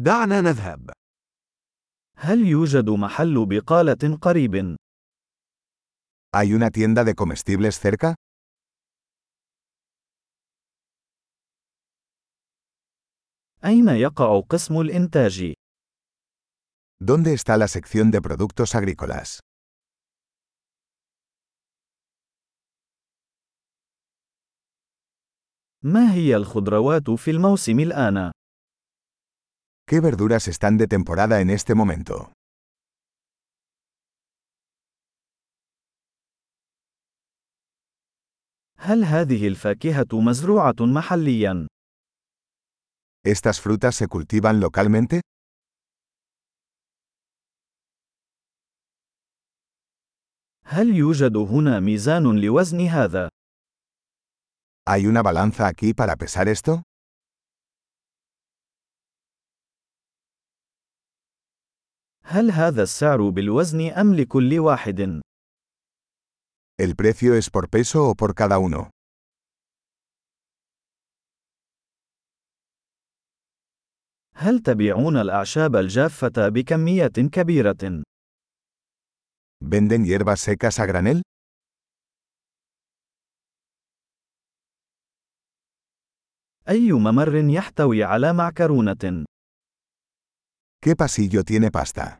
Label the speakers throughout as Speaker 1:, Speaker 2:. Speaker 1: دعنا نذهب.
Speaker 2: هل يوجد محل بقالة قريب؟
Speaker 3: ¿Hay una tienda de comestibles cerca?
Speaker 2: أين يقع قسم الإنتاج؟
Speaker 3: ¿Dónde está la sección de productos agrícolas?
Speaker 2: ما هي الخضروات في الموسم الآن؟
Speaker 3: ¿Qué verduras están de temporada en este momento?
Speaker 2: هل هذه الفاكهة مزروعة محلياً؟
Speaker 3: ¿Estas frutas se cultivan localmente?
Speaker 2: هل يوجد هنا ميزان لوزن هذا؟
Speaker 3: ¿Hay una balanza aquí para pesar esto?
Speaker 2: هل هذا السعر بالوزن أم لكل واحد؟
Speaker 3: ¿El precio es por peso o por cada uno?
Speaker 2: هل تبيعون الأعشاب الجافة بكمية كبيرة؟
Speaker 3: ¿Venden hierbas secas a granel?
Speaker 2: أي ممر يحتوي على معكرونة؟
Speaker 3: ¿Qué pasillo tiene pasta?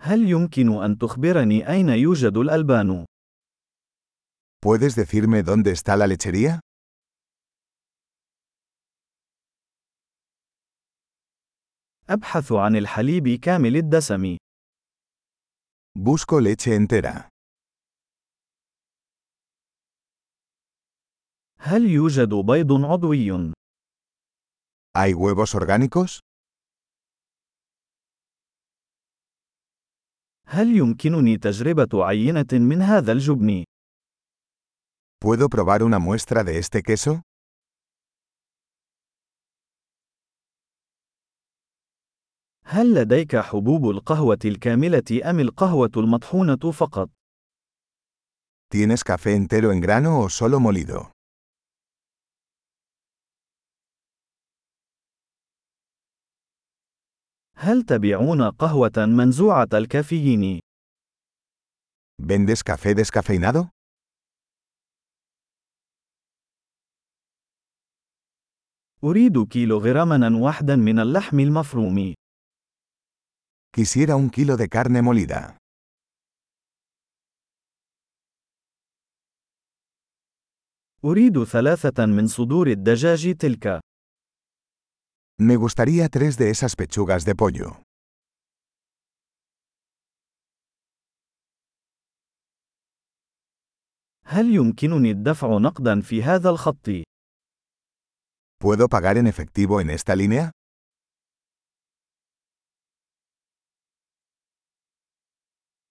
Speaker 2: هل يمكن أن تخبرني أين يوجد الألبان؟
Speaker 3: ¿Puedes decirme dónde está la lechería?
Speaker 2: أبحث عن الحليب كامل الدسم.
Speaker 3: Busco leche entera.
Speaker 2: هل يوجد بيض عضوي؟
Speaker 3: ¿Hay huevos orgánicos?
Speaker 2: هل يمكنني تجربة عينة من هذا الجبن؟
Speaker 3: ¿Puedo probar una muestra de este queso?
Speaker 2: هل لديك حبوب القهوة الكاملة أم القهوة المطحونة فقط؟
Speaker 3: ¿Tienes café entero en grano o solo molido?
Speaker 2: هل تبيعون قهوة منزوعة الكافيين؟
Speaker 3: ¿Vendes café descafeinado?
Speaker 2: أريد كيلوغراما واحدا من اللحم المفروم.
Speaker 3: Quisiera un kilo de carne molida.
Speaker 2: أريد ثلاثة من صدور الدجاج تلك.
Speaker 3: Me gustaría tres de esas pechugas de pollo.
Speaker 2: هل يمكنني الدفع نقدا في هذا الخط؟
Speaker 3: ¿Puedo pagar en efectivo en esta línea?